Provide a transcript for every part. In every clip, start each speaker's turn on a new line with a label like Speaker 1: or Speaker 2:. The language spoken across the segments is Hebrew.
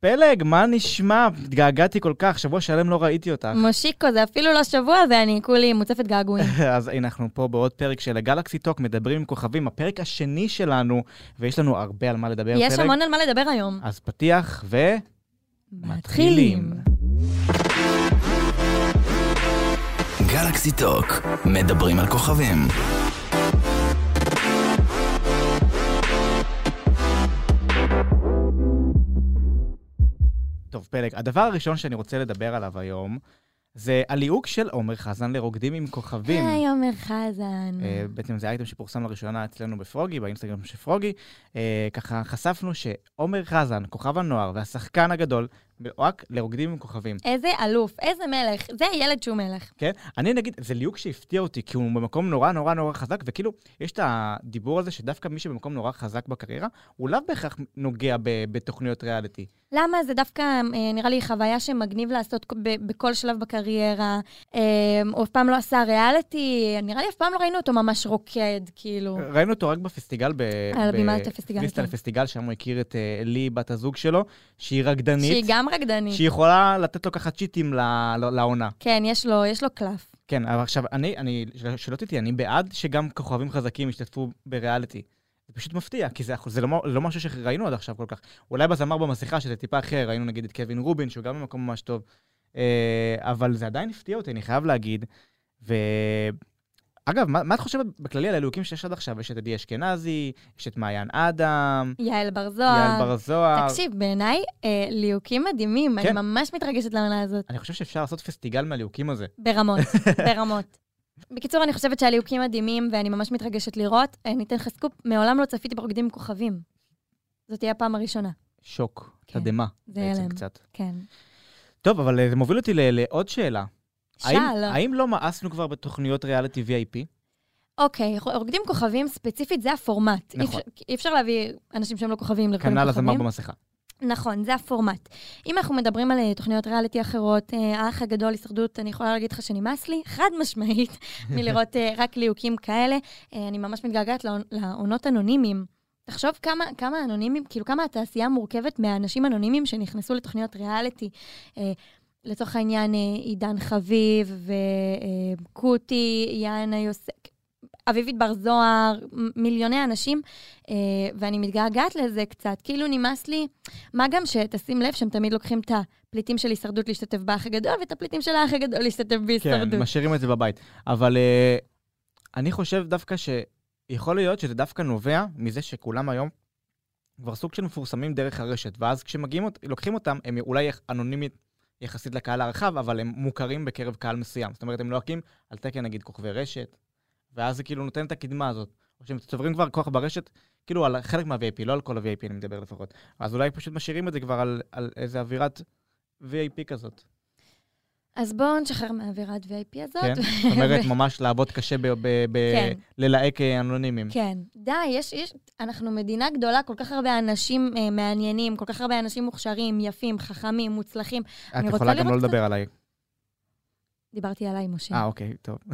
Speaker 1: פלג, מה נשמע? התגעגעתי כל כך, שבוע שלם לא ראיתי אותך.
Speaker 2: מושיקו, זה אפילו לא שבוע, זה אני כולי מוצפת געגועים.
Speaker 1: אז הנה, אנחנו פה בעוד פרק של גלקסי טוק, מדברים עם כוכבים, הפרק השני שלנו, ויש לנו הרבה על מה לדבר,
Speaker 2: יש
Speaker 1: פלג.
Speaker 2: המון על מה לדבר היום.
Speaker 1: אז פתיח ו... אה, מתחילים.
Speaker 3: גלקסי טוק, מדברים על כוכבים.
Speaker 1: טוב, פלג, הדבר הראשון שאני רוצה לדבר עליו היום, זה הליהוק של עומר חזן לרוקדים עם כוכבים.
Speaker 2: היי, עומר חזן.
Speaker 1: אה, בעצם זה אייטם שפורסם לראשונה אצלנו בפרוגי, באינסטגרם של פרוגי. אה, ככה חשפנו שעומר חזן, כוכב הנוער והשחקן הגדול, רק לרוקדים עם כוכבים.
Speaker 2: איזה אלוף, איזה מלך. זה ילד שהוא מלך.
Speaker 1: כן? אני נגיד, זה ליהוק שהפתיע אותי, כי הוא במקום נורא נורא נורא חזק, וכאילו, יש את הדיבור הזה שדווקא מי שבמקום נורא חזק בקריירה, הוא לאו בהכרח נוגע ב- בתוכניות ריאליטי.
Speaker 2: למה? זה דווקא, אה, נראה לי, חוויה שמגניב לעשות ב- בכל שלב בקריירה. אה, הוא אף פעם לא עשה ריאליטי, נראה לי אף פעם לא ראינו אותו ממש רוקד, כאילו.
Speaker 1: ראינו אותו רק בפסטיגל, ב...
Speaker 2: על בימת הפסטיגל,
Speaker 1: ניסטה
Speaker 2: כן.
Speaker 1: לפסטיגל, שם הוא הכיר את אה, לי, בת הזוג שלו, שהיא רקדנית.
Speaker 2: שהיא גם רקדנית.
Speaker 1: שהיא יכולה לתת לו ככה צ'יטים ל- ל- לעונה.
Speaker 2: כן, יש לו, יש לו קלף.
Speaker 1: כן, אבל עכשיו, אני, אני, של- שלא תטעי, אני בעד שגם כוכבים חזקים ישתתפו בריאליטי. זה פשוט מפתיע, כי זה, זה לא, מ- לא משהו שראינו עד עכשיו כל כך. אולי בזמר במסכה, שזה טיפה אחר, ראינו נגיד את קווין רובין, שהוא גם במקום ממש טוב, אה, אבל זה עדיין הפתיע אותי, אני חייב להגיד. ו... אגב, מה, מה את חושבת בכללי על הלהוקים שיש עד עכשיו? יש את עדי אשכנזי, יש את מעיין אדם,
Speaker 2: יעל בר
Speaker 1: יעל
Speaker 2: זוהר.
Speaker 1: בר זוהר.
Speaker 2: לא. תקשיב, בעיניי אה, ליהוקים מדהימים. אני
Speaker 1: כן.
Speaker 2: ממש מתרגשת לעונה הזאת.
Speaker 1: אני חושב שאפשר לעשות פסטיגל מהלהוקים הזה.
Speaker 2: ברמות, ברמות. בקיצור, אני חושבת שהליהוקים מדהימים, ואני ממש מתרגשת לראות. אה, אני אתן לך סקופ, מעולם לא צפיתי ברוקדים עם כוכבים. זאת תהיה הפעם הראשונה.
Speaker 1: שוק,
Speaker 2: כן,
Speaker 1: תדהמה,
Speaker 2: זה
Speaker 1: בעצם
Speaker 2: הלם.
Speaker 1: קצת.
Speaker 2: כן.
Speaker 1: טוב, אבל אה, זה מוביל אותי ל- לעוד שאלה. האם,
Speaker 2: שאל.
Speaker 1: האם לא מאסנו כבר בתוכניות ריאליטי VIP?
Speaker 2: אוקיי, רוקדים עם כוכבים, ספציפית זה הפורמט. אי
Speaker 1: נכון.
Speaker 2: אפשר- אי אפשר להביא אנשים שהם לא כוכבים לרקוד עם
Speaker 1: כנ"ל הזמר
Speaker 2: כוכבים.
Speaker 1: במסכה.
Speaker 2: נכון, זה הפורמט. אם אנחנו מדברים על אה, תוכניות ריאליטי אחרות, אה, האח הגדול, הישרדות, אני יכולה להגיד לך שנמאס לי, חד משמעית, מלראות אה, רק ליהוקים כאלה. אה, אני ממש מתגעגעת לעונ- לעונות אנונימיים. תחשוב כמה, כמה אנונימיים, כאילו כמה התעשייה מורכבת מהאנשים אנונימיים שנכנסו לתוכניות ריאליטי. אה, לצורך העניין, אה, עידן חביב וקוטי, יאנה יוסק, אביבית בר זוהר, מ- מיליוני אנשים, אה, ואני מתגעגעת לזה קצת. כאילו נמאס לי, מה גם שתשים לב שהם תמיד לוקחים את הפליטים של הישרדות להשתתף באח הגדול, ואת הפליטים של האח הגדול להשתתף בהישרדות.
Speaker 1: כן, משאירים את זה בבית. אבל אה, אני חושב דווקא שיכול להיות שזה דווקא נובע מזה שכולם היום כבר סוג של מפורסמים דרך הרשת, ואז כשמגיעים, אות- לוקחים אותם, הם אולי יח- אנונימית יחסית לקהל הרחב, אבל הם מוכרים בקרב קהל מסוים. זאת אומרת, הם לוהקים על תקן נגיד כוכבי רשת, ואז זה כאילו נותן את הקדמה הזאת. או שהם צוברים כבר כוח ברשת, כאילו על חלק מה-VIP, לא על כל ה-VIP אני מדבר לפחות. אז אולי פשוט משאירים את זה כבר על, על איזה אווירת VIP כזאת.
Speaker 2: אז בואו נשחרר מהאווירת VIP הזאת.
Speaker 1: כן, זאת אומרת, ממש לעבוד קשה ב... ב, ב
Speaker 2: כן.
Speaker 1: ללהק אה, אנונימים.
Speaker 2: כן. די, יש, יש, אנחנו מדינה גדולה, כל כך הרבה אנשים אה, מעניינים, כל כך הרבה אנשים מוכשרים, יפים, חכמים, מוצלחים. אני
Speaker 1: את
Speaker 2: רוצה
Speaker 1: יכולה גם לא
Speaker 2: לראות כן.
Speaker 1: לדבר עליי.
Speaker 2: דיברתי עליי, משה.
Speaker 1: אה, אוקיי, טוב.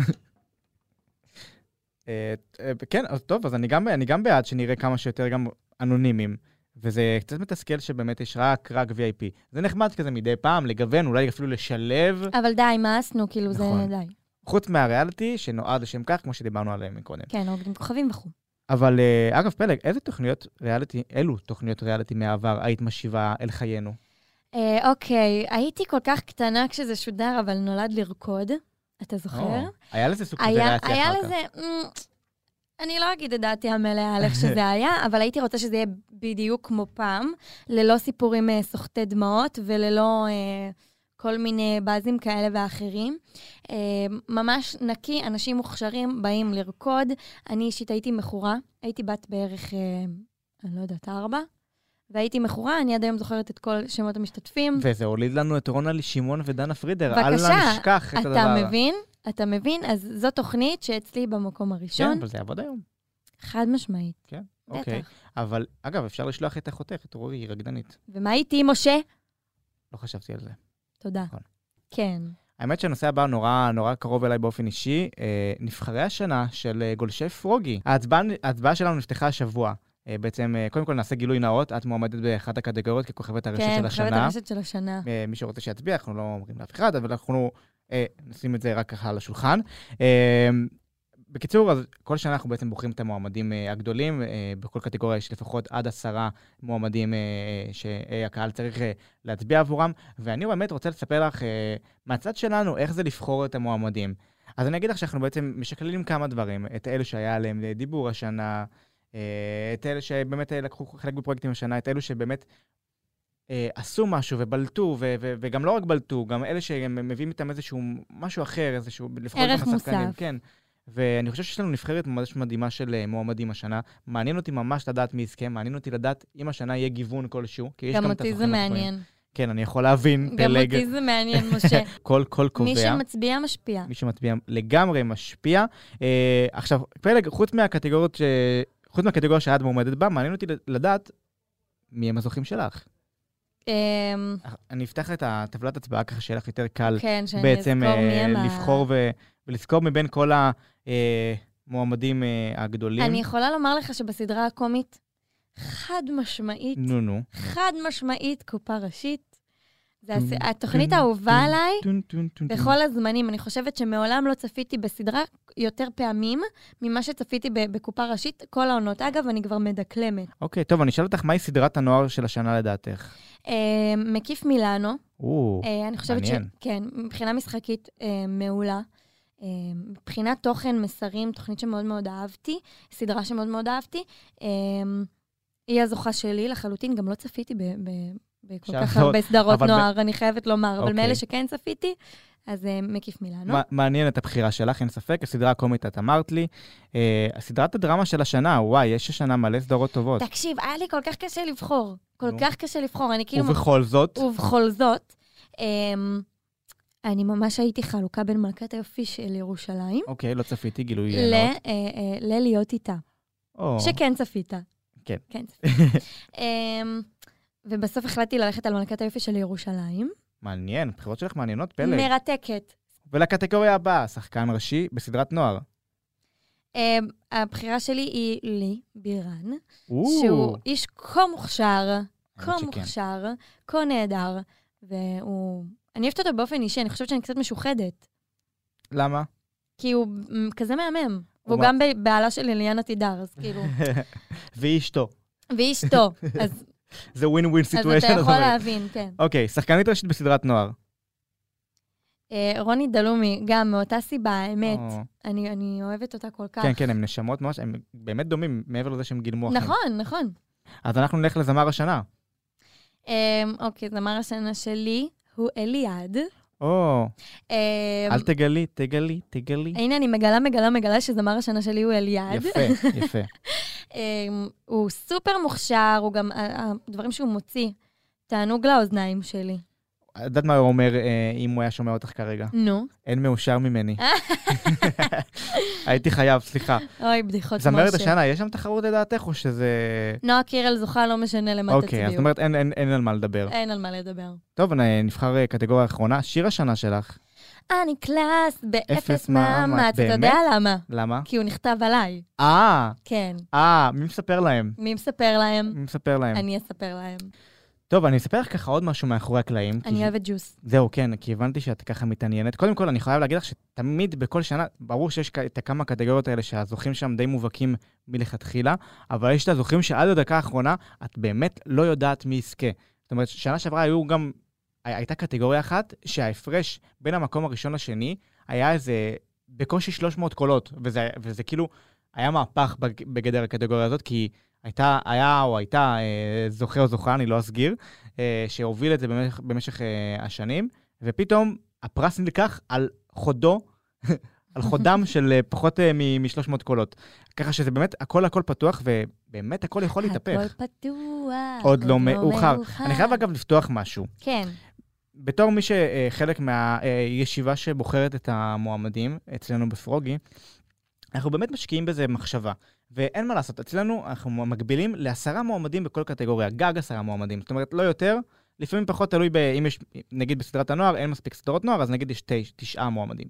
Speaker 1: אה, אה, כן, אז טוב, אז אני גם, אני גם בעד שנראה כמה שיותר גם אנונימים. וזה קצת מתסכל שבאמת יש רק, רק VIP. זה נחמד כזה מדי פעם, לגוון, אולי אפילו לשלב,
Speaker 2: אבל די, מאסנו, כאילו, זה
Speaker 1: אוקיי. נכון.
Speaker 2: די.
Speaker 1: חוץ מהריאליטי שנועד לשם כך, כמו שדיברנו עליהם מקודם.
Speaker 2: כן, רוקדים כוכבים וכו'.
Speaker 1: אבל אה, אגב, פלג, איזה תוכניות ריאליטי, אילו תוכניות ריאליטי מהעבר היית משיבה אל חיינו?
Speaker 2: אה, אוקיי, הייתי כל כך קטנה כשזה שודר, אבל נולד לרקוד. אתה זוכר?
Speaker 1: או, היה לזה סוג של
Speaker 2: היה,
Speaker 1: ריאליטי
Speaker 2: היה
Speaker 1: אחר כך.
Speaker 2: לזה... אמ, אני לא אגיד את דעתי המלאה על איך שזה היה, אבל הייתי רוצה שזה יהיה בדיוק כמו פעם, ללא סיפורים אה, סוחטי דמעות וללא אה, כל מיני באזים כאלה ואחרים. אה, ממש נקי, אנשים מוכשרים באים לרקוד. אני אישית הייתי מכורה, הייתי בת בערך, אה, אני לא יודעת, ארבע, והייתי מכורה, אני עד היום זוכרת את כל שמות המשתתפים.
Speaker 1: וזה הוליד לנו את רונה שמעון ודנה פרידר.
Speaker 2: בבקשה,
Speaker 1: אל נשכח את הדבר.
Speaker 2: אתה מבין? אתה מבין? אז זו תוכנית שאצלי במקום
Speaker 1: כן,
Speaker 2: הראשון.
Speaker 1: אבל זה יעבוד היום.
Speaker 2: חד משמעית.
Speaker 1: אוקיי.
Speaker 2: בטח.
Speaker 1: אבל, אגב, אפשר לשלוח את אחותך, את רורי, היא רקדנית.
Speaker 2: ומה איתי, משה?
Speaker 1: לא חשבתי על זה.
Speaker 2: תודה.
Speaker 1: נכון.
Speaker 2: כן.
Speaker 1: האמת שהנושא הבא נורא נורא קרוב אליי באופן אישי. אה, נבחרי השנה של אה, גולשי פרוגי. ההצבעה, ההצבעה שלנו נפתחה השבוע. אה, בעצם, אה, קודם כל נעשה גילוי נאות, את מועמדת באחת הקטגוריות ככוכבת הרשת
Speaker 2: כן,
Speaker 1: של
Speaker 2: כוכבת
Speaker 1: השנה.
Speaker 2: הרשת של השנה.
Speaker 1: אה, מי שרוצה שיצביע, אנחנו לא אומרים לאף אחד, אבל אנחנו אה, נשים את זה רק ככה על השולחן. אה, בקיצור, אז כל שנה אנחנו בעצם בוחרים את המועמדים אה, הגדולים, אה, בכל קטגוריה יש לפחות עד עשרה מועמדים אה, שהקהל צריך אה, להצביע עבורם, ואני באמת רוצה לספר לך אה, מהצד שלנו איך זה לבחור את המועמדים. אז אני אגיד לך שאנחנו בעצם משקללים כמה דברים, את אלה שהיה עליהם דיבור השנה, אה, את אלה שבאמת אה, לקחו חלק בפרויקטים השנה, את אלו שבאמת אה, עשו משהו ובלטו, ו- ו- וגם לא רק בלטו, גם אלה שהם מביאים איתם איזשהו משהו אחר, איזשהו, לפחות
Speaker 2: ערך
Speaker 1: גם השחקנים,
Speaker 2: מוסף.
Speaker 1: כן. ואני חושב שיש לנו נבחרת ממש מדהימה של אה, מועמדים השנה. מעניין אותי ממש לדעת מי יזכה, מעניין אותי לדעת אם השנה יהיה גיוון כלשהו, כי יש גם,
Speaker 2: גם
Speaker 1: את
Speaker 2: אותי זה
Speaker 1: הזוכים הקבועים.
Speaker 2: מעניין.
Speaker 1: כן, אני יכול להבין,
Speaker 2: גם
Speaker 1: פלג,
Speaker 2: אותי זה מעניין, משה.
Speaker 1: כל קול קובע.
Speaker 2: מי שמצביע משפיע.
Speaker 1: מי שמצביע לגמרי משפיע. אה, עכשיו, פלג, חוץ מהקטגוריות, ש... חוץ מהקטגוריה שאת מועמדת בה, מעניין אותי לדעת מי הם הזוכים שלך. אה,
Speaker 2: אמ,
Speaker 1: אני אפתח את הטבלת הצבעה ככה שיהיה לך יותר קל
Speaker 2: כן, שאני
Speaker 1: בעצם
Speaker 2: אזכור מי
Speaker 1: אה,
Speaker 2: הם ה-
Speaker 1: לבחור ו... ולזכור מבין כל המועמדים אה, הגדולים.
Speaker 2: אני יכולה לומר לך שבסדרה הקומית, חד משמעית,
Speaker 1: נו, נו.
Speaker 2: חד משמעית קופה ראשית. זה הס-
Speaker 1: טום,
Speaker 2: התוכנית
Speaker 1: טום,
Speaker 2: האהובה
Speaker 1: טום,
Speaker 2: עליי
Speaker 1: טון, טון, טון, טון.
Speaker 2: בכל הזמנים. אני חושבת שמעולם לא צפיתי בסדרה יותר פעמים ממה שצפיתי ב- בקופה ראשית, כל העונות. אגב, אני כבר מדקלמת.
Speaker 1: אוקיי, טוב, אני אשאל אותך, מהי סדרת הנוער של השנה לדעתך?
Speaker 2: אה, מקיף מילאנו,
Speaker 1: או,
Speaker 2: אה, אני חושבת ש...
Speaker 1: מעניין.
Speaker 2: כן, מבחינה משחקית אה, מעולה. אה, מבחינת תוכן, מסרים, תוכנית שמאוד מאוד אהבתי, סדרה שמאוד מאוד אהבתי. אה, היא הזוכה שלי לחלוטין, גם לא צפיתי ב- ב- בכל
Speaker 1: אפשר
Speaker 2: כך
Speaker 1: לעשות,
Speaker 2: הרבה סדרות
Speaker 1: לא- אבל ב-
Speaker 2: נוער, אני חייבת לומר, אבל
Speaker 1: אוקיי.
Speaker 2: מאלה שכן צפיתי, אז אה, מקיף מילאנו.
Speaker 1: מע- מעניין את הבחירה שלך, אין ספק. הסדרה הקומית, את אמרת לי. אה, סדרת הדרמה של השנה, וואי, יש השנה מלא סדרות טובות.
Speaker 2: תקשיב, היה לי כל כך קשה לבחור. כל
Speaker 1: נו.
Speaker 2: כך קשה לבחור, אני כאילו...
Speaker 1: ובכל זאת,
Speaker 2: ובכל זאת, אמ, אני ממש הייתי חלוקה בין מלכת היופי של ירושלים
Speaker 1: אוקיי, לא צפיתי, גילוי
Speaker 2: ל-
Speaker 1: נאות.
Speaker 2: אה, אה, ללהיות איתה,
Speaker 1: או,
Speaker 2: שכן צפית.
Speaker 1: כן.
Speaker 2: כן צפית. אמ, ובסוף החלטתי ללכת על מלכת היופי של ירושלים.
Speaker 1: מעניין, הבחירות שלך מעניינות, פלא.
Speaker 2: מרתקת.
Speaker 1: ולקטגוריה הבאה, שחקן ראשי בסדרת נוער.
Speaker 2: אמ, הבחירה שלי היא לי בירן,
Speaker 1: או,
Speaker 2: שהוא איש כה מוכשר, כה
Speaker 1: האמת שכן.
Speaker 2: מוכשר, כה נהדר, והוא... אני אוהבת אותו באופן אישי, אני חושבת שאני קצת משוחדת.
Speaker 1: למה?
Speaker 2: כי הוא מ- כזה מהמם. והוא
Speaker 1: מה-
Speaker 2: גם ב- בעלה של אליאנה תידר, אז כאילו...
Speaker 1: והיא אשתו.
Speaker 2: והיא אשתו, אז
Speaker 1: זה ווין ווין
Speaker 2: אז אתה
Speaker 1: סיטואשן.
Speaker 2: יכול להבין, כן.
Speaker 1: אוקיי, שחקנית ראשית בסדרת נוער.
Speaker 2: אה, רוני דלומי, גם מאותה סיבה, האמת.
Speaker 1: או,
Speaker 2: אני אני אוהבת אותה כל כך.
Speaker 1: אה. כן, כן, הם נשמות ממש, הם באמת דומים, מעבר לזה שהם גילמו אחים.
Speaker 2: נכון, נכון.
Speaker 1: אז אנחנו נלך לזמר השנה.
Speaker 2: אמ, אוקיי, זמר השנה שלי הוא אליעד.
Speaker 1: או,
Speaker 2: אמ,
Speaker 1: אל תגלי, תגלי, תגלי.
Speaker 2: הנה, אני מגלה, מגלה, מגלה שזמר השנה שלי הוא אליעד.
Speaker 1: יפה, יפה.
Speaker 2: אמ, הוא סופר מוכשר, הוא גם, ה- הדברים שהוא מוציא, תענוג לאוזניים שלי.
Speaker 1: את יודעת מה הוא אומר אה, אם הוא היה שומע אותך כרגע?
Speaker 2: נו.
Speaker 1: אין מאושר ממני. הייתי חייב, סליחה.
Speaker 2: אוי, בדיחות משה.
Speaker 1: זמרת השנה, יש שם תחרות לדעתך או שזה...
Speaker 2: נועה קירל זוכה, לא משנה למה
Speaker 1: אוקיי, אז
Speaker 2: תצביעו.
Speaker 1: זאת אומרת אין- אין אין על מה לדבר.
Speaker 2: אין על מה לדבר.
Speaker 1: טוב, נ- נבחר אה, קטגוריה אחרונה, שיר השנה שלך.
Speaker 2: אני קלאס
Speaker 1: אפס
Speaker 2: באפס
Speaker 1: מאמץ.
Speaker 2: מאמץ, אתה יודע
Speaker 1: באמת?
Speaker 2: למה?
Speaker 1: למה?
Speaker 2: כי הוא נכתב עליי.
Speaker 1: אה,
Speaker 2: כן.
Speaker 1: אה, מי מספר להם?
Speaker 2: מי מספר להם?
Speaker 1: מי מספר להם?
Speaker 2: אני אספר להם.
Speaker 1: טוב, אני אספר לך ככה עוד משהו מאחורי הקלעים. כי-
Speaker 2: אני אוהבת ג'וס.
Speaker 1: זהו, כן, כי הבנתי שאת ככה מתעניינת. קודם כל, אני חייב להגיד לך שתמיד, בכל שנה, ברור שיש כ- את הכמה קטגוריות האלה שהזוכים שם די מובהקים מלכתחילה, אבל יש את הזוכים שעד הדקה האחרונה, את באמת לא יודעת מי יזכה. זאת אומרת, שנה שעברה היו גם... הי- הייתה קטגוריה אחת שההפרש בין המקום הראשון לשני היה איזה בקושי 300 קולות, וזה, וזה כאילו היה מהפך בג- בגדר הקטגוריה הזאת, כי הייתה, היה או הייתה אה, זוכה או זוכה, אני לא אסגיר, אה, שהוביל את זה במשך, במשך אה, השנים, ופתאום הפרס נלקח על חודו, על חודם של אה, פחות אה, מ-300 קולות. ככה שזה באמת, הכל הכל פתוח, ובאמת הכל יכול להתהפך.
Speaker 2: הכל פתוח.
Speaker 1: עוד לא מאוחר. אני חייב אגב לפתוח משהו.
Speaker 2: כן.
Speaker 1: בתור מי אה, שחלק מהישיבה שבוחרת את המועמדים אצלנו בפרוגי, אנחנו באמת משקיעים בזה מחשבה. ואין מה לעשות, אצלנו אנחנו מגבילים לעשרה מועמדים בכל קטגוריה, גג עשרה מועמדים. זאת אומרת, לא יותר, לפעמים פחות תלוי ב... אם יש, נגיד בסדרת הנוער, אין מספיק סדרות נוער, אז נגיד יש תש, תשעה מועמדים.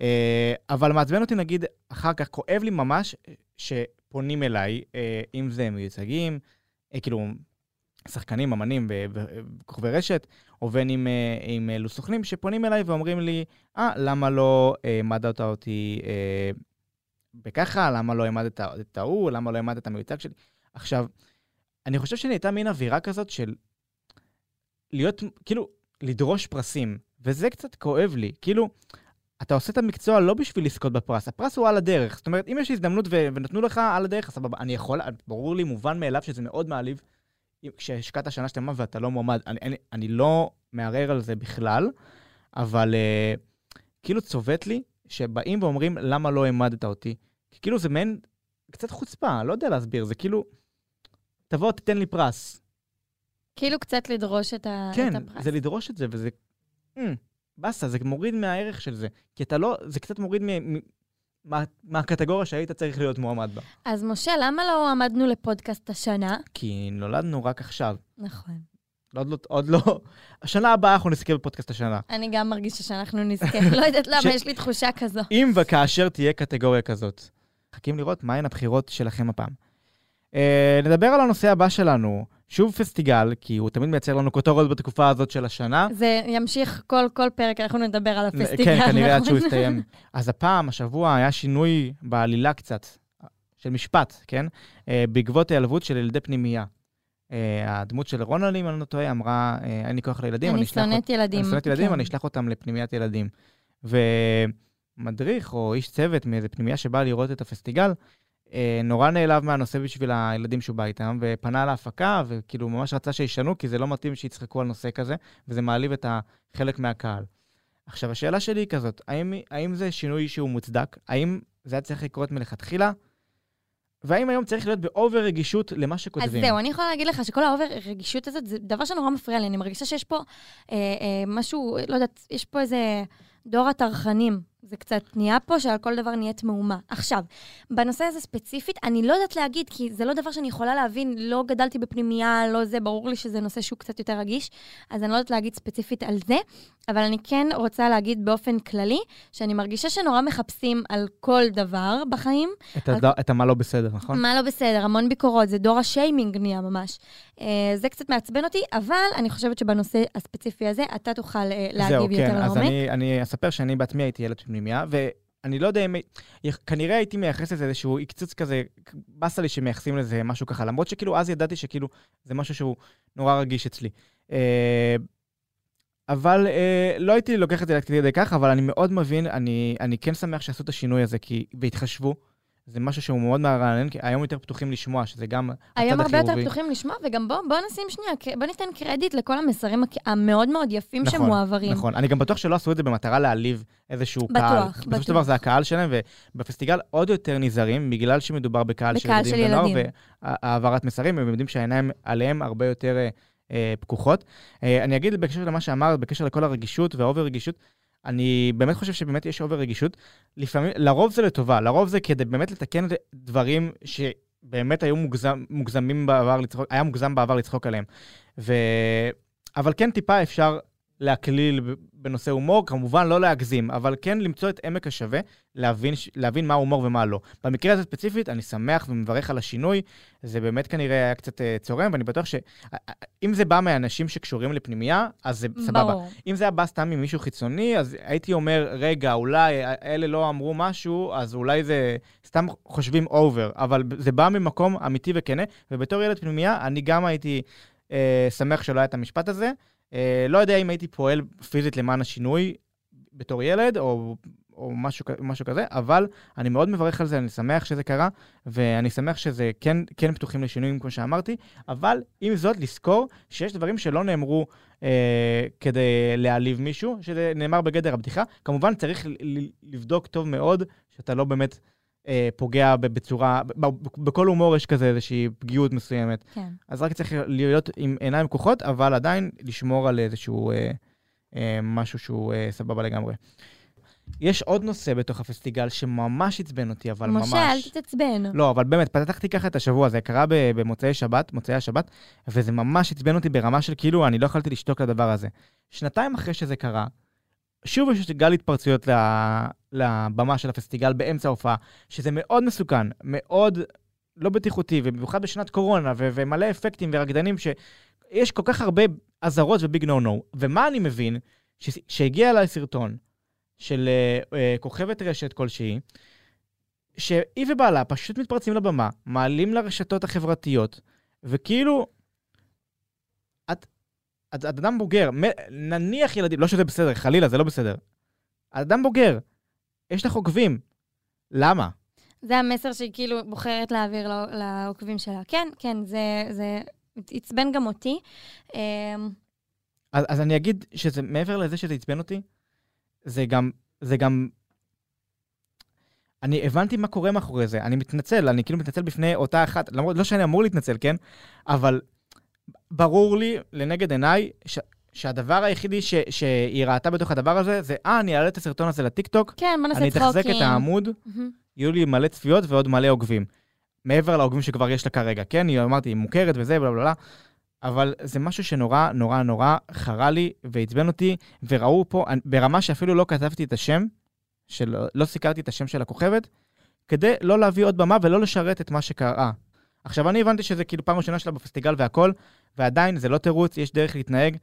Speaker 1: אה, אבל מעצבן אותי, נגיד, אחר כך כואב לי ממש, ש... פונים אליי, אה, אם זה מיוצגים, אה, כאילו, שחקנים, אמנים ו- ו- וכוכבי רשת, או בין אם, אה, עם אלו סוכנים שפונים אליי ואומרים לי, אה, למה לא העמדת אותי אה, בככה, למה לא העמדת את ההוא, למה לא העמדת את המיוצג שלי. עכשיו, אני חושב שנהייתה מין אווירה כזאת של להיות, כאילו, לדרוש פרסים, וזה קצת כואב לי. כאילו, אתה עושה את המקצוע לא בשביל לזכות בפרס, הפרס הוא על הדרך. זאת אומרת, אם יש הזדמנות ו- ונתנו לך על הדרך, אז סבבה, אני יכול, ברור לי, מובן מאליו שזה מאוד מעליב אם- כשהשקעת שנה שלמה ואתה לא מועמד. אני, אני, אני לא מערער על זה בכלל, אבל אה, כאילו צובט לי שבאים ואומרים, למה לא העמדת אותי? כי כאילו זה מעין, קצת חוצפה, לא יודע להסביר, זה כאילו, תבוא, תיתן לי פרס.
Speaker 2: כאילו קצת לדרוש את, ה...
Speaker 1: כן,
Speaker 2: את הפרס.
Speaker 1: זה לדרוש את זה, וזה... Mm, באסה, זה מוריד מהערך של זה. כי אתה לא... זה קצת מוריד מ... מ... מה... מהקטגוריה שהיית צריך להיות מועמד בה.
Speaker 2: אז משה, למה לא עמדנו לפודקאסט השנה?
Speaker 1: כי נולדנו רק עכשיו.
Speaker 2: נכון.
Speaker 1: עוד לא... עוד לא... השנה הבאה אנחנו נזכה בפודקאסט השנה.
Speaker 2: אני גם מרגישה שאנחנו נזכה. לא יודעת למה,
Speaker 1: ש-
Speaker 2: יש לי תחושה כזו.
Speaker 1: אם וכאשר תהיה קטגוריה כזאת. מחכים לראות מהן הבחירות שלכם הפעם. אה, נדבר על הנושא הבא שלנו, שוב פסטיגל, כי הוא תמיד מייצר לנו כותרות בתקופה הזאת של השנה.
Speaker 2: זה ימשיך כל, כל פרק, אנחנו נדבר על הפסטיגל,
Speaker 1: כן, כנראה עד
Speaker 2: נכון?
Speaker 1: שהוא יסתיים. אז הפעם, השבוע, היה שינוי בעלילה קצת, של משפט, כן? אה, בעקבות היעלבות של ילדי פנימייה. אה, הדמות של רונלד, אם אני לא טועה, אמרה, אה, אין לי כוח לילדים,
Speaker 2: אני
Speaker 1: אשלח אות-
Speaker 2: שונאת ילדים.
Speaker 1: אני שונאת ילדים,
Speaker 2: כן.
Speaker 1: אני אשלח אותם לפנימיית ילדים. ומדריך או איש צוות מאיזה פנימייה שבא לראות את הפסטיגל, אה, נורא נעלב מהנושא בשביל הילדים שהוא בא איתם, ופנה להפקה, וכאילו ממש רצה שישנו, כי זה לא מתאים שיצחקו על נושא כזה, וזה מעליב את החלק מהקהל. עכשיו, השאלה שלי היא כזאת, האם, האם זה שינוי שהוא מוצדק? האם זה היה צריך לקרות מלכתחילה? והאם היום צריך להיות באובר רגישות למה
Speaker 2: אז
Speaker 1: שכותבים?
Speaker 2: זהו, אני יכולה להגיד לך שכל האובר רגישות הזאת, זה דבר שנורא מפריע לי. אני מרגישה שיש פה אה, אה, משהו, לא יודעת, יש פה איזה דור הטרחנים. זה קצת נהיה פה שעל כל דבר נהיית מהומה. עכשיו, בנושא הזה ספציפית, אני לא יודעת להגיד, כי זה לא דבר שאני יכולה להבין, לא גדלתי בפנימייה, לא זה, ברור לי שזה נושא שהוא קצת יותר רגיש, אז אני לא יודעת להגיד ספציפית על זה, אבל אני כן רוצה להגיד באופן כללי, שאני מרגישה שנורא מחפשים על כל דבר בחיים,
Speaker 1: את, הד... את המה לא בסדר, נכון?
Speaker 2: מה לא בסדר? המון ביקורות, זה דור השיימינג נהיה ממש. אה, זה קצת מעצבן אותי, אבל אני חושבת שבנושא הספציפי הזה, אתה תוכל אה, להגיב יותר
Speaker 1: זהו, כן, אז
Speaker 2: לעומק.
Speaker 1: אני, אני אספר שאני בעצמי הייתי ילד פנימייה, ואני לא יודע אם... יכ- כנראה הייתי מייחס לזה איזשהו עקצוץ כזה, באסה לי שמייחסים לזה משהו ככה, למרות שכאילו אז ידעתי שכאילו זה משהו שהוא נורא רגיש אצלי. אה, אבל אה, לא הייתי לוקח את זה עד כדי כך, אבל אני מאוד מבין, אני, אני כן שמח שעשו את השינוי הזה, כי... והתחשבו. זה משהו שהוא מאוד מרענן, כי היום יותר פתוחים לשמוע, שזה גם הצד החיובי.
Speaker 2: היום הרבה יותר פתוחים לשמוע, וגם בוא, בוא נשים שנייה, ק- בוא ניתן קרדיט לכל המסרים הכ- המאוד מאוד יפים
Speaker 1: נכון,
Speaker 2: שמועברים.
Speaker 1: נכון, אני גם בטוח שלא עשו את זה במטרה להעליב איזשהו
Speaker 2: בטוח,
Speaker 1: קהל.
Speaker 2: בטוח.
Speaker 1: בסופו של דבר זה הקהל שלהם, ובפסטיגל עוד יותר נזהרים, בגלל שמדובר בקהל של
Speaker 2: בקהל
Speaker 1: ילדים
Speaker 2: של
Speaker 1: ונוער,
Speaker 2: ילדים.
Speaker 1: והעברת מסרים, הם יודעים שהעיניים עליהם הרבה יותר אה, אה, פקוחות. אה, אני אגיד בקשר למה שאמרת, בקשר לכל הרגישות והאובר רגישות, אני באמת חושב שבאמת יש אובר רגישות. לפעמים, לרוב זה לטובה, לרוב זה כדי באמת לתקן דברים שבאמת היו מוגזם, מוגזמים בעבר לצחוק, היה מוגזם בעבר לצחוק עליהם. ו... אבל כן טיפה אפשר להקליל ב- בנושא הומור, כמובן לא להגזים, אבל כן למצוא את עמק השווה, להבין, ש- להבין מה הומור ומה לא. במקרה הזה ספציפית, אני שמח ומברך על השינוי, זה באמת כנראה היה קצת אה, צורם, ואני בטוח שאם זה בא מאנשים שקשורים לפנימייה, אז זה סבבה.
Speaker 2: ברור. כן.
Speaker 1: אם זה היה בא סתם ממישהו חיצוני, אז הייתי אומר, רגע, אולי אלה לא אמרו משהו, אז אולי זה סתם חושבים אובר, אבל זה בא ממקום אמיתי וכנה, ובתור ילד פנימייה, אני גם הייתי אה, שמח שלא היה את המשפט הזה. אה, לא יודע אם הייתי פועל פיזית למען השינוי בתור ילד, או, או משהו, כ- משהו כזה, אבל אני מאוד מברך על זה, אני שמח שזה קרה, ואני שמח שזה כן, כן פתוחים לשינויים, כמו שאמרתי, אבל עם זאת, לזכור שיש דברים שלא נאמרו אה, כדי להעליב מישהו, שזה נאמר בגדר הבדיחה. כמובן, צריך ל- ל- לבדוק טוב מאוד שאתה לא באמת אה, פוגע ב- בצורה, ב- ב- בכל הומור יש כזה איזושהי פגיעות מסוימת.
Speaker 2: כן.
Speaker 1: אז רק צריך להיות עם עיניים פקוחות, אבל עדיין לשמור על איזשהו אה, אה, משהו שהוא אה, סבבה לגמרי. יש עוד נושא בתוך הפסטיגל שממש עצבן אותי, אבל ממש...
Speaker 2: משה, אל תתעצבן.
Speaker 1: לא, אבל באמת, פתחתי ככה את השבוע, זה קרה ב- במוצאי שבת, מוצאי השבת, וזה ממש עצבן אותי ברמה של כאילו, אני לא יכולתי לשתוק לדבר הזה. שנתיים אחרי שזה קרה, שוב יש גל התפרצויות ל- לבמה של הפסטיגל באמצע ההופעה, שזה מאוד מסוכן, מאוד לא בטיחותי, ובמיוחד בשנת קורונה, ו- ומלא אפקטים ורקדנים, שיש כל כך הרבה אזהרות וביג נו נו. ומה אני מבין? ש- שהגיע אליי סרטון של אה, אה, כוכבת רשת כלשהי, שהיא ובעלה פשוט מתפרצים לבמה, מעלים לרשתות החברתיות, וכאילו, את, את, את אדם בוגר, מ, נניח ילדים, לא שזה בסדר, חלילה, זה לא בסדר. את אדם בוגר, יש לך עוקבים. למה?
Speaker 2: זה המסר שהיא כאילו בוחרת להעביר לא- לעוקבים שלה. כן, כן, זה- זה עצבן גם אותי. אמ,
Speaker 1: אז, אז אני אגיד שזה, מעבר לזה שזה עצבן אותי, זה גם, זה גם... אני הבנתי מה קורה מאחורי זה, אני מתנצל, אני כאילו מתנצל בפני אותה אחת, למרות, לא שאני אמור להתנצל, כן? אבל ברור לי, לנגד עיניי, ש, שהדבר היחידי ש, שהיא ראתה בתוך הדבר הזה, זה, אה, אני אעלה את הסרטון הזה לטיקטוק,
Speaker 2: כן, בוא
Speaker 1: אני
Speaker 2: נעשה צחוקים.
Speaker 1: אתחזק את העמוד,
Speaker 2: מהמם.
Speaker 1: יהיו לי מלא צפיות ועוד מלא עוקבים. מעבר לעוקבים שכבר יש לה כרגע, כן? היא אמרתי, היא מוכרת וזה, בלה בלה בלה. אבל זה משהו שנורא נורא נורא חרה לי ועצבן אותי, וראו פה, אני- ברמה שאפילו לא כתבתי את השם, שלא לא סיקרתי את השם של הכוכבת, כדי לא להביא עוד במה ולא לשרת את מה שקרה. עכשיו, אני הבנתי שזה כאילו פעם ראשונה שלה בפסטיגל והכל, ועדיין זה לא תירוץ, יש דרך להתנהג,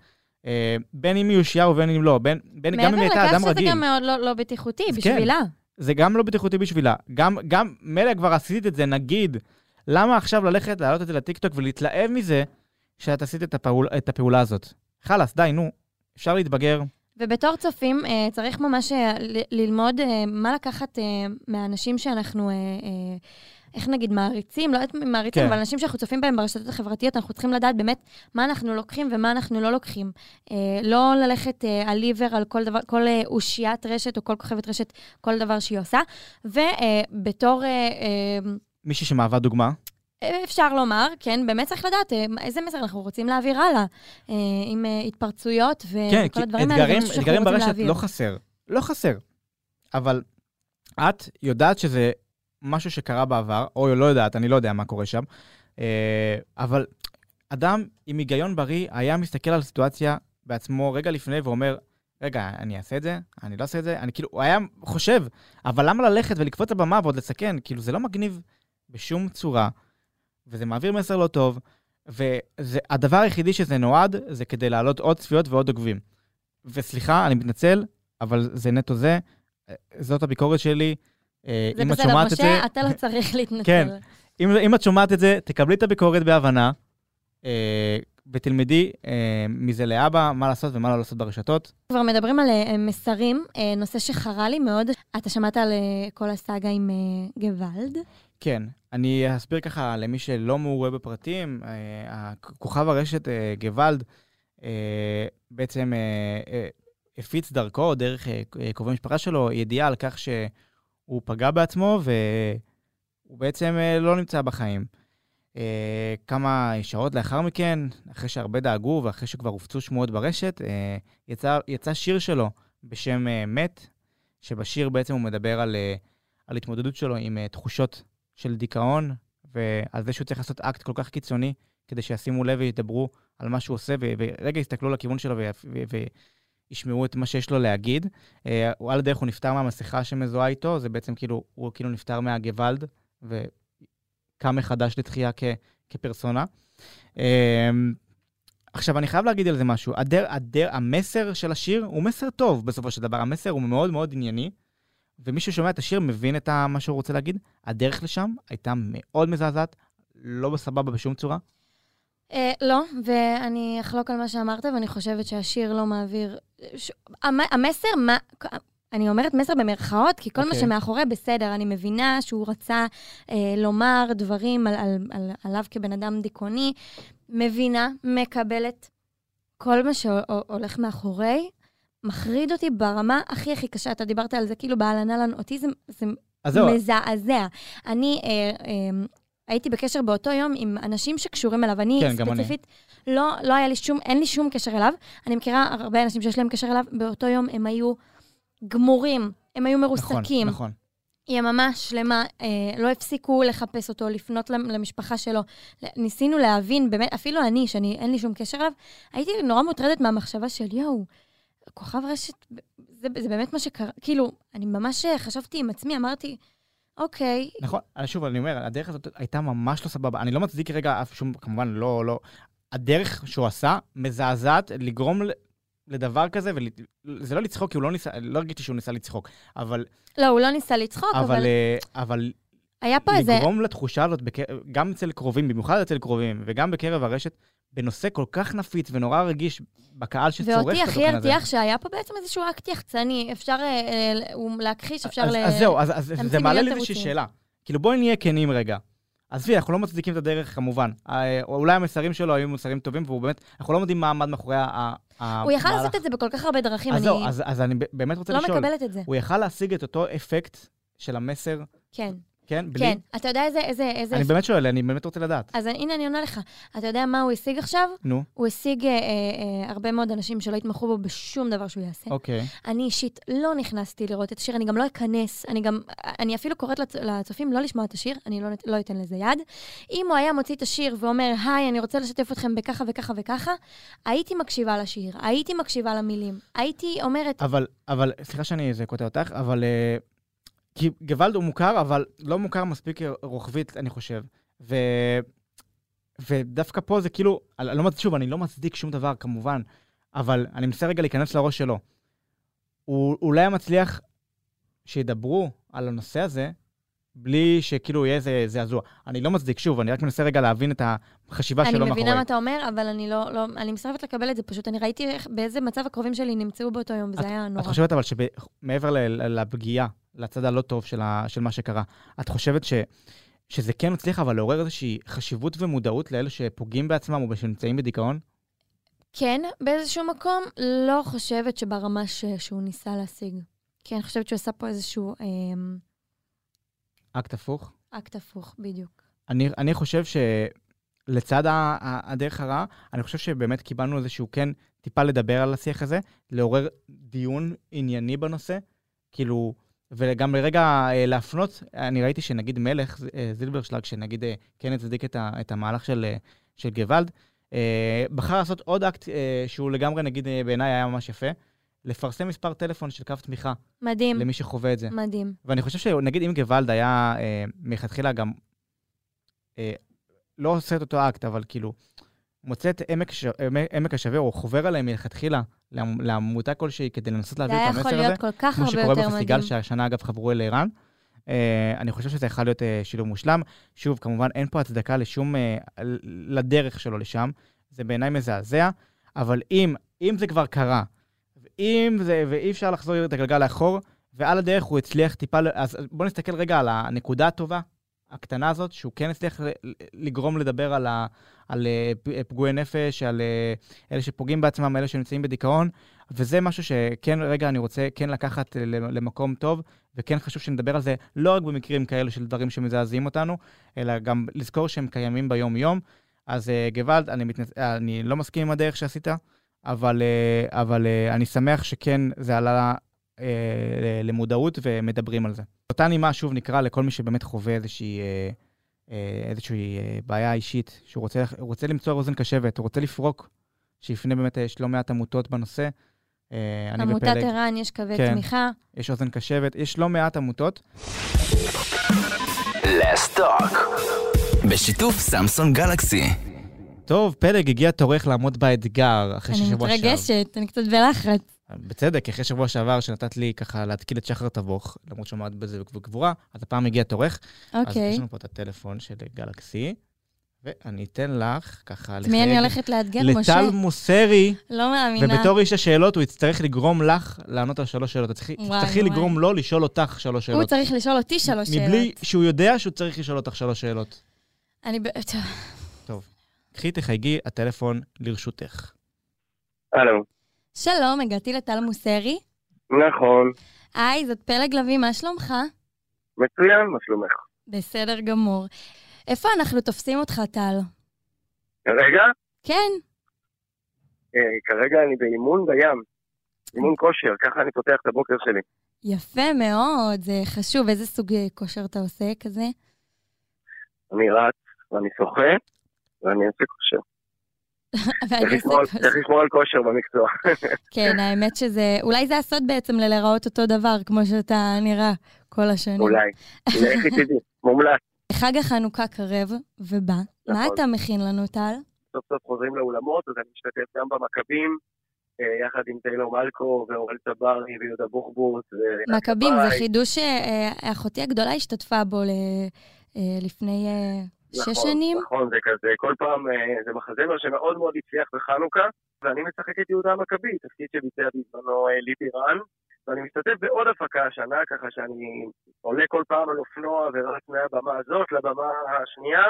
Speaker 1: אה, בין אם היא אושייה ובין אם לא, בין, בין, גם אם היא הייתה
Speaker 2: מעבר
Speaker 1: אדם
Speaker 2: לכך שזה
Speaker 1: רגיל.
Speaker 2: גם מאוד לא לא בטיחותי
Speaker 1: אז כן.
Speaker 2: בשבילה.
Speaker 1: זה גם לא בטיחותי בשבילה. גם, גם, מילא כבר עשית את זה, נגיד, למה עכשיו ללכת להעלות את זה לטיקטוק ולהתלהב מזה שאת עשית את, הפעול, את הפעולה הזאת? חלאס, די, נו, אפשר להתבגר.
Speaker 2: ובתור צופים, אה, צריך ממש אה, ל- ללמוד אה, מה לקחת אה, מהאנשים שאנחנו, אה, אה, איך נגיד, מעריצים, לא יודעת אם מעריצים,
Speaker 1: כן.
Speaker 2: אבל אנשים שאנחנו צופים בהם ברשתות החברתיות, אנחנו צריכים לדעת באמת מה אנחנו לוקחים ומה אנחנו לא לוקחים. אה, לא ללכת אה, על עיוור, על כל דבר, כל אה, אושיית רשת או כל כוכבת רשת, כל דבר שהיא עושה. אה, ובתור...
Speaker 1: מישהי שמהווה דוגמה,
Speaker 2: אה, אפשר לומר, כן, באמת צריך לדעת אה, מה- איזה מסר אנחנו רוצים להעביר הלאה, אה, עם אה, התפרצויות וכל
Speaker 1: כן, כי
Speaker 2: הדברים האלה, זה
Speaker 1: אתגרים,
Speaker 2: משהו שאנחנו
Speaker 1: אתגרים
Speaker 2: רוצים
Speaker 1: ברשת
Speaker 2: להעביר.
Speaker 1: לא חסר. לא חסר. אבל את יודעת שזה משהו שקרה בעבר, או לא יודעת, אני לא יודע מה קורה שם, אה, אבל אדם עם היגיון בריא היה מסתכל על סיטואציה בעצמו רגע לפני ואומר, רגע, אני אעשה את זה? אני לא אעשה את זה? אני כאילו, הוא היה חושב, אבל למה ללכת ולקפוץ לבמה ועוד לסכן? כאילו, זה לא מגניב בשום צורה, וזה מעביר מסר לא טוב, והדבר היחידי שזה נועד, זה כדי להעלות עוד צפיות ועוד עוקבים. וסליחה, אני מתנצל, אבל זה נטו זה. אה, זאת הביקורת שלי. אה,
Speaker 2: זה
Speaker 1: אם את
Speaker 2: בסדר,
Speaker 1: שומעת את זה,
Speaker 2: משה, אתה לא צריך להתנצל.
Speaker 1: כן. אם, אם את שומעת את זה, תקבלי את הביקורת בהבנה, אה, ותלמדי אה, מזה לאבא, מה לעשות ומה לא לעשות ברשתות.
Speaker 2: כבר מדברים על אה, מסרים, אה, נושא שחרה לי מאוד. אתה שמעת על אה, כל הסאגה עם אה, גוואלד?
Speaker 1: כן, אני אסביר ככה למי שלא מעורה בפרטים, אה, כוכב הרשת אה, גוואלד אה, בעצם אה, אה, הפיץ דרכו, דרך אה, אה, קרובי משפחה שלו, ידיעה על כך שהוא פגע בעצמו והוא בעצם אה, לא נמצא בחיים. אה, כמה שעות לאחר מכן, אחרי שהרבה דאגו ואחרי שכבר הופצו שמועות ברשת, אה, יצא, יצא שיר שלו בשם אה, מת, שבשיר בעצם הוא מדבר על, אה, על התמודדות שלו עם אה, תחושות של דיכאון, ועל זה שהוא צריך לעשות אקט כל כך קיצוני, כדי שישימו לב וידברו על מה שהוא עושה, ו- ורגע יסתכלו לכיוון שלו ויפ- ו- ו- וישמעו את מה שיש לו להגיד. אה, הוא על הדרך הוא נפטר מהמסכה שמזוהה איתו, זה בעצם כאילו, הוא כאילו נפטר מהגוואלד, וקם מחדש לתחייה כ- כפרסונה. אה, עכשיו, אני חייב להגיד על זה משהו. הדר, הדר, המסר של השיר הוא מסר טוב בסופו של דבר. המסר הוא מאוד מאוד ענייני, ומי ששומע את השיר מבין את ה- מה שהוא רוצה להגיד. הדרך לשם הייתה מאוד מזעזעת, לא בסבבה בשום צורה.
Speaker 2: אה, לא, ואני אחלוק על מה שאמרת, ואני חושבת שהשיר לא מעביר... ש... המ... המסר, מה... אני אומרת מסר במרכאות, כי כל okay. מה
Speaker 1: אוקיי.
Speaker 2: שמאחורי בסדר, אני מבינה שהוא רצה אה, לומר דברים על, על, על, עליו כבן אדם דיכאוני, מבינה, מקבלת. כל מה שהולך מאחורי, מחריד אותי ברמה הכי הכי קשה. אתה דיברת על זה כאילו באהלן אהלן, אותי זה, זה
Speaker 1: אז זהו,
Speaker 2: מזעזע. אני אה, אה, הייתי בקשר באותו יום עם אנשים שקשורים אליו. אני
Speaker 1: כן, גם אני.
Speaker 2: ספציפית, לא, לא היה לי שום, אין לי שום קשר אליו. אני מכירה הרבה אנשים שיש להם קשר אליו, באותו יום הם היו גמורים, הם היו
Speaker 1: נכון,
Speaker 2: מרוסקים.
Speaker 1: נכון.
Speaker 2: יממה שלמה, אה, לא הפסיקו לחפש אותו, לפנות למ- למשפחה שלו. ל- ניסינו להבין, באמת, אפילו אני, שאני, אין לי שום קשר אליו, הייתי נורא מוטרדת מהמחשבה של יואו, כוכב רשת, זה, זה באמת מה שקרה, כאילו, אני ממש אה, חשבתי עם עצמי, אמרתי, אוקיי,
Speaker 1: נכון, אז שוב, אני אומר, הדרך הזאת הייתה ממש לא סבבה. אני לא מצדיק רגע אף שום, כמובן, לא, לא. הדרך שהוא עשה מזעזעת לגרום ל- לדבר כזה, וזה לא לצחוק, כי הוא לא ניסה, לא הרגישתי שהוא ניסה לצחוק, אבל,
Speaker 2: לא, הוא לא ניסה לצחוק,
Speaker 1: אבל,
Speaker 2: אבל
Speaker 1: אה, אבל
Speaker 2: היה פה איזה...
Speaker 1: לגרום לתחושה הזאת, בק- גם אצל קרובים, במיוחד אצל קרובים, וגם בקרב הרשת, בנושא כל כך נפיץ ונורא רגיש בקהל שצורך את
Speaker 2: ואותי
Speaker 1: התוכן הזה.
Speaker 2: הכי הרתיח שהיה פה בעצם איזשהו אקט יחצני, אפשר אה, אה, הוא להכחיש, אפשר
Speaker 1: אז,
Speaker 2: ל...
Speaker 1: אז זהו, אז, אז
Speaker 2: להמציא
Speaker 1: זה מעלה
Speaker 2: מיליון
Speaker 1: לי איזושהי
Speaker 2: תירוצים.
Speaker 1: שאלה. כאילו, בואי נהיה כנים רגע. עזבי, אנחנו לא מצדיקים את הדרך, כמובן. אה, אולי המסרים שלו היו מסרים טובים, והוא באמת, אנחנו לא יודעים מה עמד מאחורי ה- ה- המהלך.
Speaker 2: הוא יכל לעשות את זה בכל כך הרבה דרכים,
Speaker 1: אז
Speaker 2: אני
Speaker 1: זהו, אז, אז אני ב- באמת רוצה
Speaker 2: לא
Speaker 1: לשאול.
Speaker 2: מקבלת את זה.
Speaker 1: הוא יכל להשיג את אותו אפקט של המסר,
Speaker 2: כן,
Speaker 1: כן? בלי?
Speaker 2: כן. אתה יודע איזה- איזה... איזה-
Speaker 1: אני באמת שואל, אני באמת רוצה לדעת.
Speaker 2: אז הנה אני עונה לך. אתה יודע מה הוא השיג עכשיו?
Speaker 1: נו,
Speaker 2: הוא השיג אה, אה, אה, הרבה מאוד אנשים שלא התמכו בו בשום דבר שהוא יעשה.
Speaker 1: אוקיי.
Speaker 2: אני אישית לא נכנסתי לראות את השיר, אני גם לא אכנס, אני גם, אני אפילו קוראת לצ- לצופים לא לשמוע את השיר, אני לא, נת- לא אתן לזה יד. אם הוא היה מוציא את השיר ואומר, היי, אני רוצה לשתף אתכם בככה וככה וככה, הייתי מקשיבה לשיר, הייתי מקשיבה למילים, הייתי אומרת,
Speaker 1: אבל, אבל, סליחה שאני איזה קוטע אותך, אבל... אה, כי גוואלד הוא מוכר, אבל לא מוכר מספיק רוחבית, אני חושב. ו... ודווקא פה זה כאילו, אני לא, מצ- שוב, אני לא מצדיק שום דבר, כמובן, אבל אני מנסה רגע להיכנס לראש שלו. הוא אולי היה מצליח שידברו על הנושא הזה, בלי שכאילו יהיה איזה זעזוע. אני לא מצדיק, שוב, אני רק מנסה רגע להבין את החשיבה
Speaker 2: אני
Speaker 1: שלו מאחורי.
Speaker 2: מבינה מה אתה אומר, אבל אני לא, לא, אני מסרבת לקבל את זה, פשוט אני ראיתי איך, באיזה מצב הקרובים שלי נמצאו באותו יום, וזה היה
Speaker 1: את
Speaker 2: נורא.
Speaker 1: חושבת אבל שמעבר ל- ל- לפגיעה, לצד הלא טוב של, ה, של מה שקרה, את חושבת ש, שזה כן הצליח אבל לעורר איזושהי חשיבות ומודעות לאלה שפוגעים בעצמם או שנמצאים בדיכאון?
Speaker 2: כן, באיזשהו מקום, לא חושבת שברמה ש, שהוא ניסה להשיג. כן, אני חושבת שהוא עשה פה איזשהו אמ,
Speaker 1: אקט הפוך?
Speaker 2: אקט הפוך, בדיוק.
Speaker 1: אני, אני חושב שלצד ה- ה- הדרך הרעה, אני חושב שבאמת קיבלנו איזשהו כן טיפה לדבר על השיח הזה, לעורר דיון ענייני בנושא, כאילו, וגם לרגע אה, להפנות, אני ראיתי שנגיד מלך, ז- אה, זילברשלג, שנגיד אה, כן הצדיק את, ה, את המהלך של, אה, של גוואלד, אה, בחר לעשות עוד אקט אה, שהוא לגמרי, נגיד, אה, בעיניי היה ממש יפה, לפרסם מספר טלפון של קו תמיכה
Speaker 2: מדהים,
Speaker 1: למי שחווה את זה.
Speaker 2: מדהים.
Speaker 1: ואני חושב שנגיד אם גוואלד היה אה, מלכתחילה גם, אה, לא עושה את אותו אקט, אבל כאילו, מוצא את עמק, ש... עמק- עמק השווה, או חובר עליהם מלכתחילה לעמ- לעמותה כלשהי כדי לנסות
Speaker 2: זה
Speaker 1: להעביר
Speaker 2: היה
Speaker 1: את
Speaker 2: יכול
Speaker 1: המסר הזה,
Speaker 2: להיות כל כך
Speaker 1: כמו
Speaker 2: הרבה
Speaker 1: שקורה
Speaker 2: יותר
Speaker 1: בפסטיגל,
Speaker 2: מדהים.
Speaker 1: שהשנה אגב חברו אל ערן. אה, אני חושב שזה יכול להיות אה, שילוב מושלם. שוב, כמובן, אין פה הצדקה לשום, אה, ל- לדרך שלו לשם. זה בעיניי מזעזע, אבל אם, אם זה כבר קרה, ואם זה, ואי אפשר לחזור את הגלגל לאחור, ועל הדרך הוא הצליח טיפה, ל- אז בואו נסתכל רגע על הנקודה הטובה, הקטנה הזאת, שהוא כן הצליח ל- ל- לגרום לדבר על, ה, על אה, פ- אה, פגועי נפש, על אה, אלה שפוגעים בעצמם, אלה שנמצאים בדיכאון, וזה משהו שכן, רגע, אני רוצה כן לקחת אה, ל- למקום טוב, וכן חשוב שנדבר על זה לא רק במקרים כאלו של דברים שמזעזעים אותנו, אלא גם לזכור שהם קיימים ביום-יום. אז אה, גוואלד, אני, מתנצ... אה, אני לא מסכים עם הדרך שעשית, אבל, אה, אבל אה, אני שמח שכן זה עלה אה, ל- למודעות ומדברים על זה. אותה נימה, שוב, נקרא לכל מי שבאמת חווה איזושהי, אה, אה, איזושהי אה, בעיה אישית, שהוא רוצה, הוא רוצה למצוא אוזן קשבת, הוא רוצה לפרוק, שיפנה באמת, אה, יש לא מעט עמותות בנושא. אה, אני
Speaker 2: עמותת
Speaker 1: ופלג,
Speaker 2: ער"ן, יש קווי
Speaker 1: כן.
Speaker 2: תמיכה.
Speaker 1: יש אוזן קשבת, יש לא מעט עמותות.
Speaker 3: לסטוק. בשיתוף סמסון גלקסי.
Speaker 1: טוב, פלג, הגיע תורך לעמוד באתגר אחרי
Speaker 2: אני
Speaker 1: ששבוע שעבר.
Speaker 2: מתרגשת, אני קצת בלחץ.
Speaker 1: בצדק, אחרי שבוע שעבר שנתת לי ככה להתקיל את שחר תבוך, למרות שהוא עמד בזה בגבורה, אז הפעם הגיע תורך. אז
Speaker 2: אוקיי.
Speaker 1: יש לנו פה את הטלפון של גלקסי, ואני אתן לך ככה
Speaker 2: את מי אני הולכת לאתגר, משה?
Speaker 1: לטל מוסרי,
Speaker 2: לא מאמינה.
Speaker 1: ובתור איש השאלות הוא יצטרך לגרום לך לענות על שלוש שאלות. את צריכי-
Speaker 2: וואי,
Speaker 1: תצטרכי
Speaker 2: וואי.
Speaker 1: לגרום לו לשאול אותך שלוש
Speaker 2: הוא
Speaker 1: שאלות.
Speaker 2: צריך לשאול אותי שלוש שאלות.
Speaker 1: מבלי שהוא יודע שהוא צריך לשאול אותך שלוש שאלות.
Speaker 2: אני ב... טוב.
Speaker 1: קחי, תחייגי, הטלפון לרשותך.
Speaker 4: הלו.
Speaker 2: שלום, הגעתי לטל מוסרי.
Speaker 4: נכון.
Speaker 2: היי, זאת פלג לביא, מה שלומך?
Speaker 4: מצוין, מה שלומך?
Speaker 2: בסדר גמור. איפה אנחנו תופסים אותך, טל?
Speaker 4: כרגע?
Speaker 2: כן,
Speaker 4: אה, כרגע אני באימון בים. אימון כושר, ככה אני פותח את הבוקר שלי.
Speaker 2: יפה מאוד, זה חשוב. איזה סוג אה, כושר אתה עושה כזה?
Speaker 4: אני רץ, ואני שוחה, ואני עושה כושר. צריך לשמור על- צריך לשמור על כושר במקצוע.
Speaker 2: כן, האמת שזה, אולי זה הסוד בעצם ללהיראות אותו דבר, כמו שאתה נראה כל השנים.
Speaker 4: אולי. לכי תדעי, מומלץ.
Speaker 2: חג החנוכה קרב ובא. מה
Speaker 4: נכון.
Speaker 2: אתה מכין לנו, טל?
Speaker 4: סוף סוף חוזרים לאולמות, אז אני משתתף גם במכבים, אה, יחד עם טיילור מלקו ואורל צברי ויהודה בוחבוט. ורינת
Speaker 2: מכבים, זה
Speaker 4: גבאי.
Speaker 2: חידוש שאחותי הגדולה השתתפה בו ל- אה, לפני אה, שש
Speaker 4: נכון,
Speaker 2: שנים.
Speaker 4: נכון, זה כזה, כל פעם אה, זה מחזמר שמאוד מאוד הצליח בחנוכה, ואני משחק את יהודה המכבי, תפקיד שביצע בזמנו אה, ליבי רן, ואני משתתף בעוד הפקה השנה, ככה שאני עולה כל פעם על אופנוע ורץ מהבמה הזאת לבמה השנייה,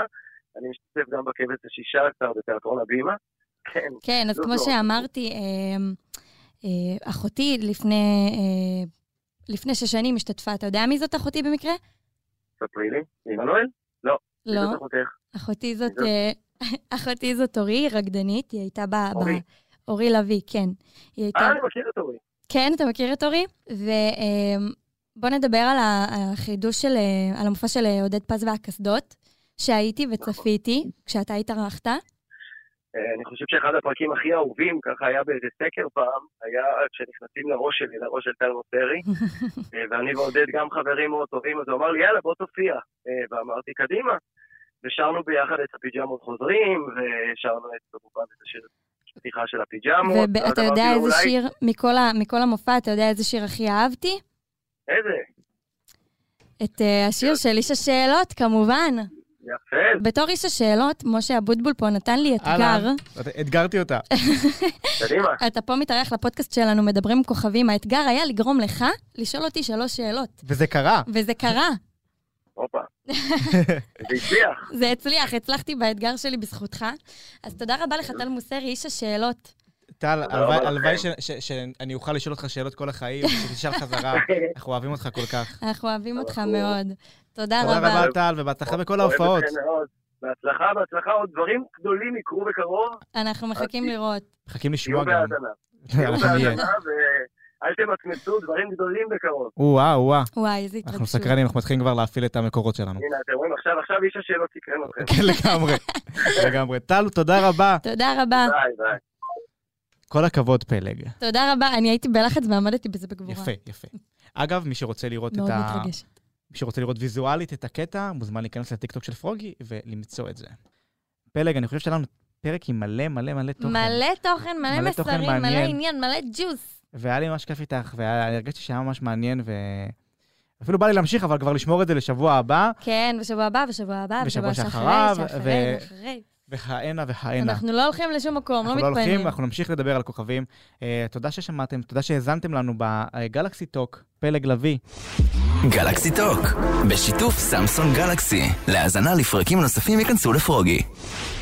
Speaker 4: אני משתתף גם בכבש השישה עשר בתיאטרון הבימה. כן,
Speaker 2: כן, אז
Speaker 4: לא,
Speaker 2: כמו
Speaker 4: לא.
Speaker 2: שאמרתי, אמ, אה, אחותי לפני אה, לפני שש שנים השתתפה, אתה יודע מי זאת אחותי במקרה?
Speaker 4: ספרי לי. עמנואל?
Speaker 2: לא.
Speaker 4: זאת אחותך.
Speaker 2: אחותי זאת,
Speaker 4: זאת-
Speaker 2: אה, אחותי זאת אורי, היא רקדנית, היא הייתה ב... ב-
Speaker 4: אורי.
Speaker 2: אורי לביא, כן. היא הייתה...
Speaker 4: אה, אני מכיר את אורי.
Speaker 2: כן, אתה מכיר את אורי? ובוא נדבר על ה- החידוש של... אה, על המופע של אה, עודד פז והקסדות, שהייתי וצפיתי כשאתה התארחת.
Speaker 4: אה, אני חושב שאחד הפרקים הכי אהובים, ככה היה באיזה סקר פעם, היה כשנכנסים לראש שלי, לראש של טל מוסרי, אה, ואני ועודד גם חברים מאוד טובים, אז הוא אמר לי, יאללה, בוא תופיע. אה, ואמרתי, קדימה. ושרנו ביחד את הפיג'מות חוזרים, ושרנו את, כמובן, את השיר פתיחה של הפיג'מות. ואז
Speaker 2: ואתה יודע
Speaker 4: אמרתי לו,
Speaker 2: איזה
Speaker 4: אה, "אולי-
Speaker 2: שיר, מכל ה- מכל המופע, אתה יודע איזה שיר הכי אהבתי?
Speaker 4: איזה?
Speaker 2: את אה, השיר של איש השאלות, כמובן.
Speaker 4: יפה.
Speaker 2: בתור איש השאלות, משה אבוטבול פה נתן לי אתגר.
Speaker 1: אהלן. את- אתגרתי אותה.
Speaker 4: קדימה.
Speaker 2: אתה פה מתארח לפודקאסט שלנו, מדברים עם כוכבים. האתגר היה לגרום לך לשאול אותי שלוש שאלות.
Speaker 1: וזה קרה.
Speaker 2: וזה קרה,
Speaker 4: הופה. זה הצליח.
Speaker 2: זה הצליח, הצלחתי באתגר שלי בזכותך. אז תודה רבה לך, טל מוסרי, איש השאלות.
Speaker 1: טל,
Speaker 4: תודה
Speaker 1: הלוואי
Speaker 4: רבה
Speaker 1: הלוואי
Speaker 4: לכם.
Speaker 1: ש- ש- שאני אוכל לשאול אותך שאלות כל החיים, שתשאל חזרה. אנחנו אוהבים אותך כל כך.
Speaker 2: אנחנו אוהבים אותך
Speaker 4: אנחנו-
Speaker 2: מאוד. תודה
Speaker 1: תודה
Speaker 2: רבה.
Speaker 1: רבה, טל, ובהצלחה בכל
Speaker 4: אוהב אתכם
Speaker 1: ההופעות.
Speaker 4: מאוד. בהצלחה, בהצלחה, עוד דברים גדולים יקרו בקרוב.
Speaker 2: אנחנו מחכים לראות.
Speaker 1: מחכים
Speaker 4: תהיו
Speaker 1: לשמוע גם.
Speaker 4: בהאזנה. תהיו
Speaker 1: אנחנו נהיה.
Speaker 4: בהאזנה ואל תמצמצו דברים גדולים בקרוב.
Speaker 1: או-אה, או-אה.
Speaker 2: וואי, איזה
Speaker 1: אנחנו
Speaker 2: התרגשות.
Speaker 1: סקרנים, אנחנו מתחילים כבר להפעיל את המקורות שלנו.
Speaker 4: הנה, אתם רואים עכשיו, עכשיו איש השאלות סקרן אתכם.
Speaker 1: כן, לגמרי. לגמרי. טל, תודה רבה.
Speaker 2: תודה רבה.
Speaker 4: ביי, ביי.
Speaker 1: כל הכבוד, פלג.
Speaker 2: תודה רבה. אני הייתי בלחץ ועמדתי בזה בגבורה.
Speaker 1: יפה, יפה. אגב, מי שרוצה לראות את
Speaker 2: מאוד
Speaker 1: ה...
Speaker 2: מתרגשת.
Speaker 1: מי שרוצה לראות ויזואלית את הקטע, מוזמן להיכנס לטיקטוק של פרוגי ולמצוא את זה. פלג, אני חושב שהיה לנו פרק עם מלא מלא מלא תוכן.
Speaker 2: מלא תוכן, מלא
Speaker 1: מלא תוכן
Speaker 2: מסרים, מלא
Speaker 1: מעניין.
Speaker 2: עניין, מלא ג'וס.
Speaker 1: והיה לי ממש כיף איתך, והרגשתי שהיה ממש מעניין, ו... אפילו בא לי להמשיך, אבל כבר לשמור את זה לשבוע הבא,
Speaker 2: כן, בשבוע הבא, בשבוע הבא,
Speaker 1: בשבוע
Speaker 2: בשבוע שאחרי,
Speaker 1: שאחריו,
Speaker 2: שאחרי,
Speaker 1: ו-
Speaker 2: שאחרי.
Speaker 1: וכהנה וכהנה.
Speaker 2: אנחנו לא הולכים לשום מקום, לא
Speaker 1: אנחנו לא הולכים,
Speaker 2: מתפנים.
Speaker 1: אנחנו נמשיך לדבר על כוכבים. אה, תודה ששמעתם, תודה שהאזנתם לנו בגלקסי טוק, פלג לביא.
Speaker 3: גלקסי טוק, בשיתוף סמסון גלקסי. להאזנה לפרקים נוספים ייכנסו לפרוגי.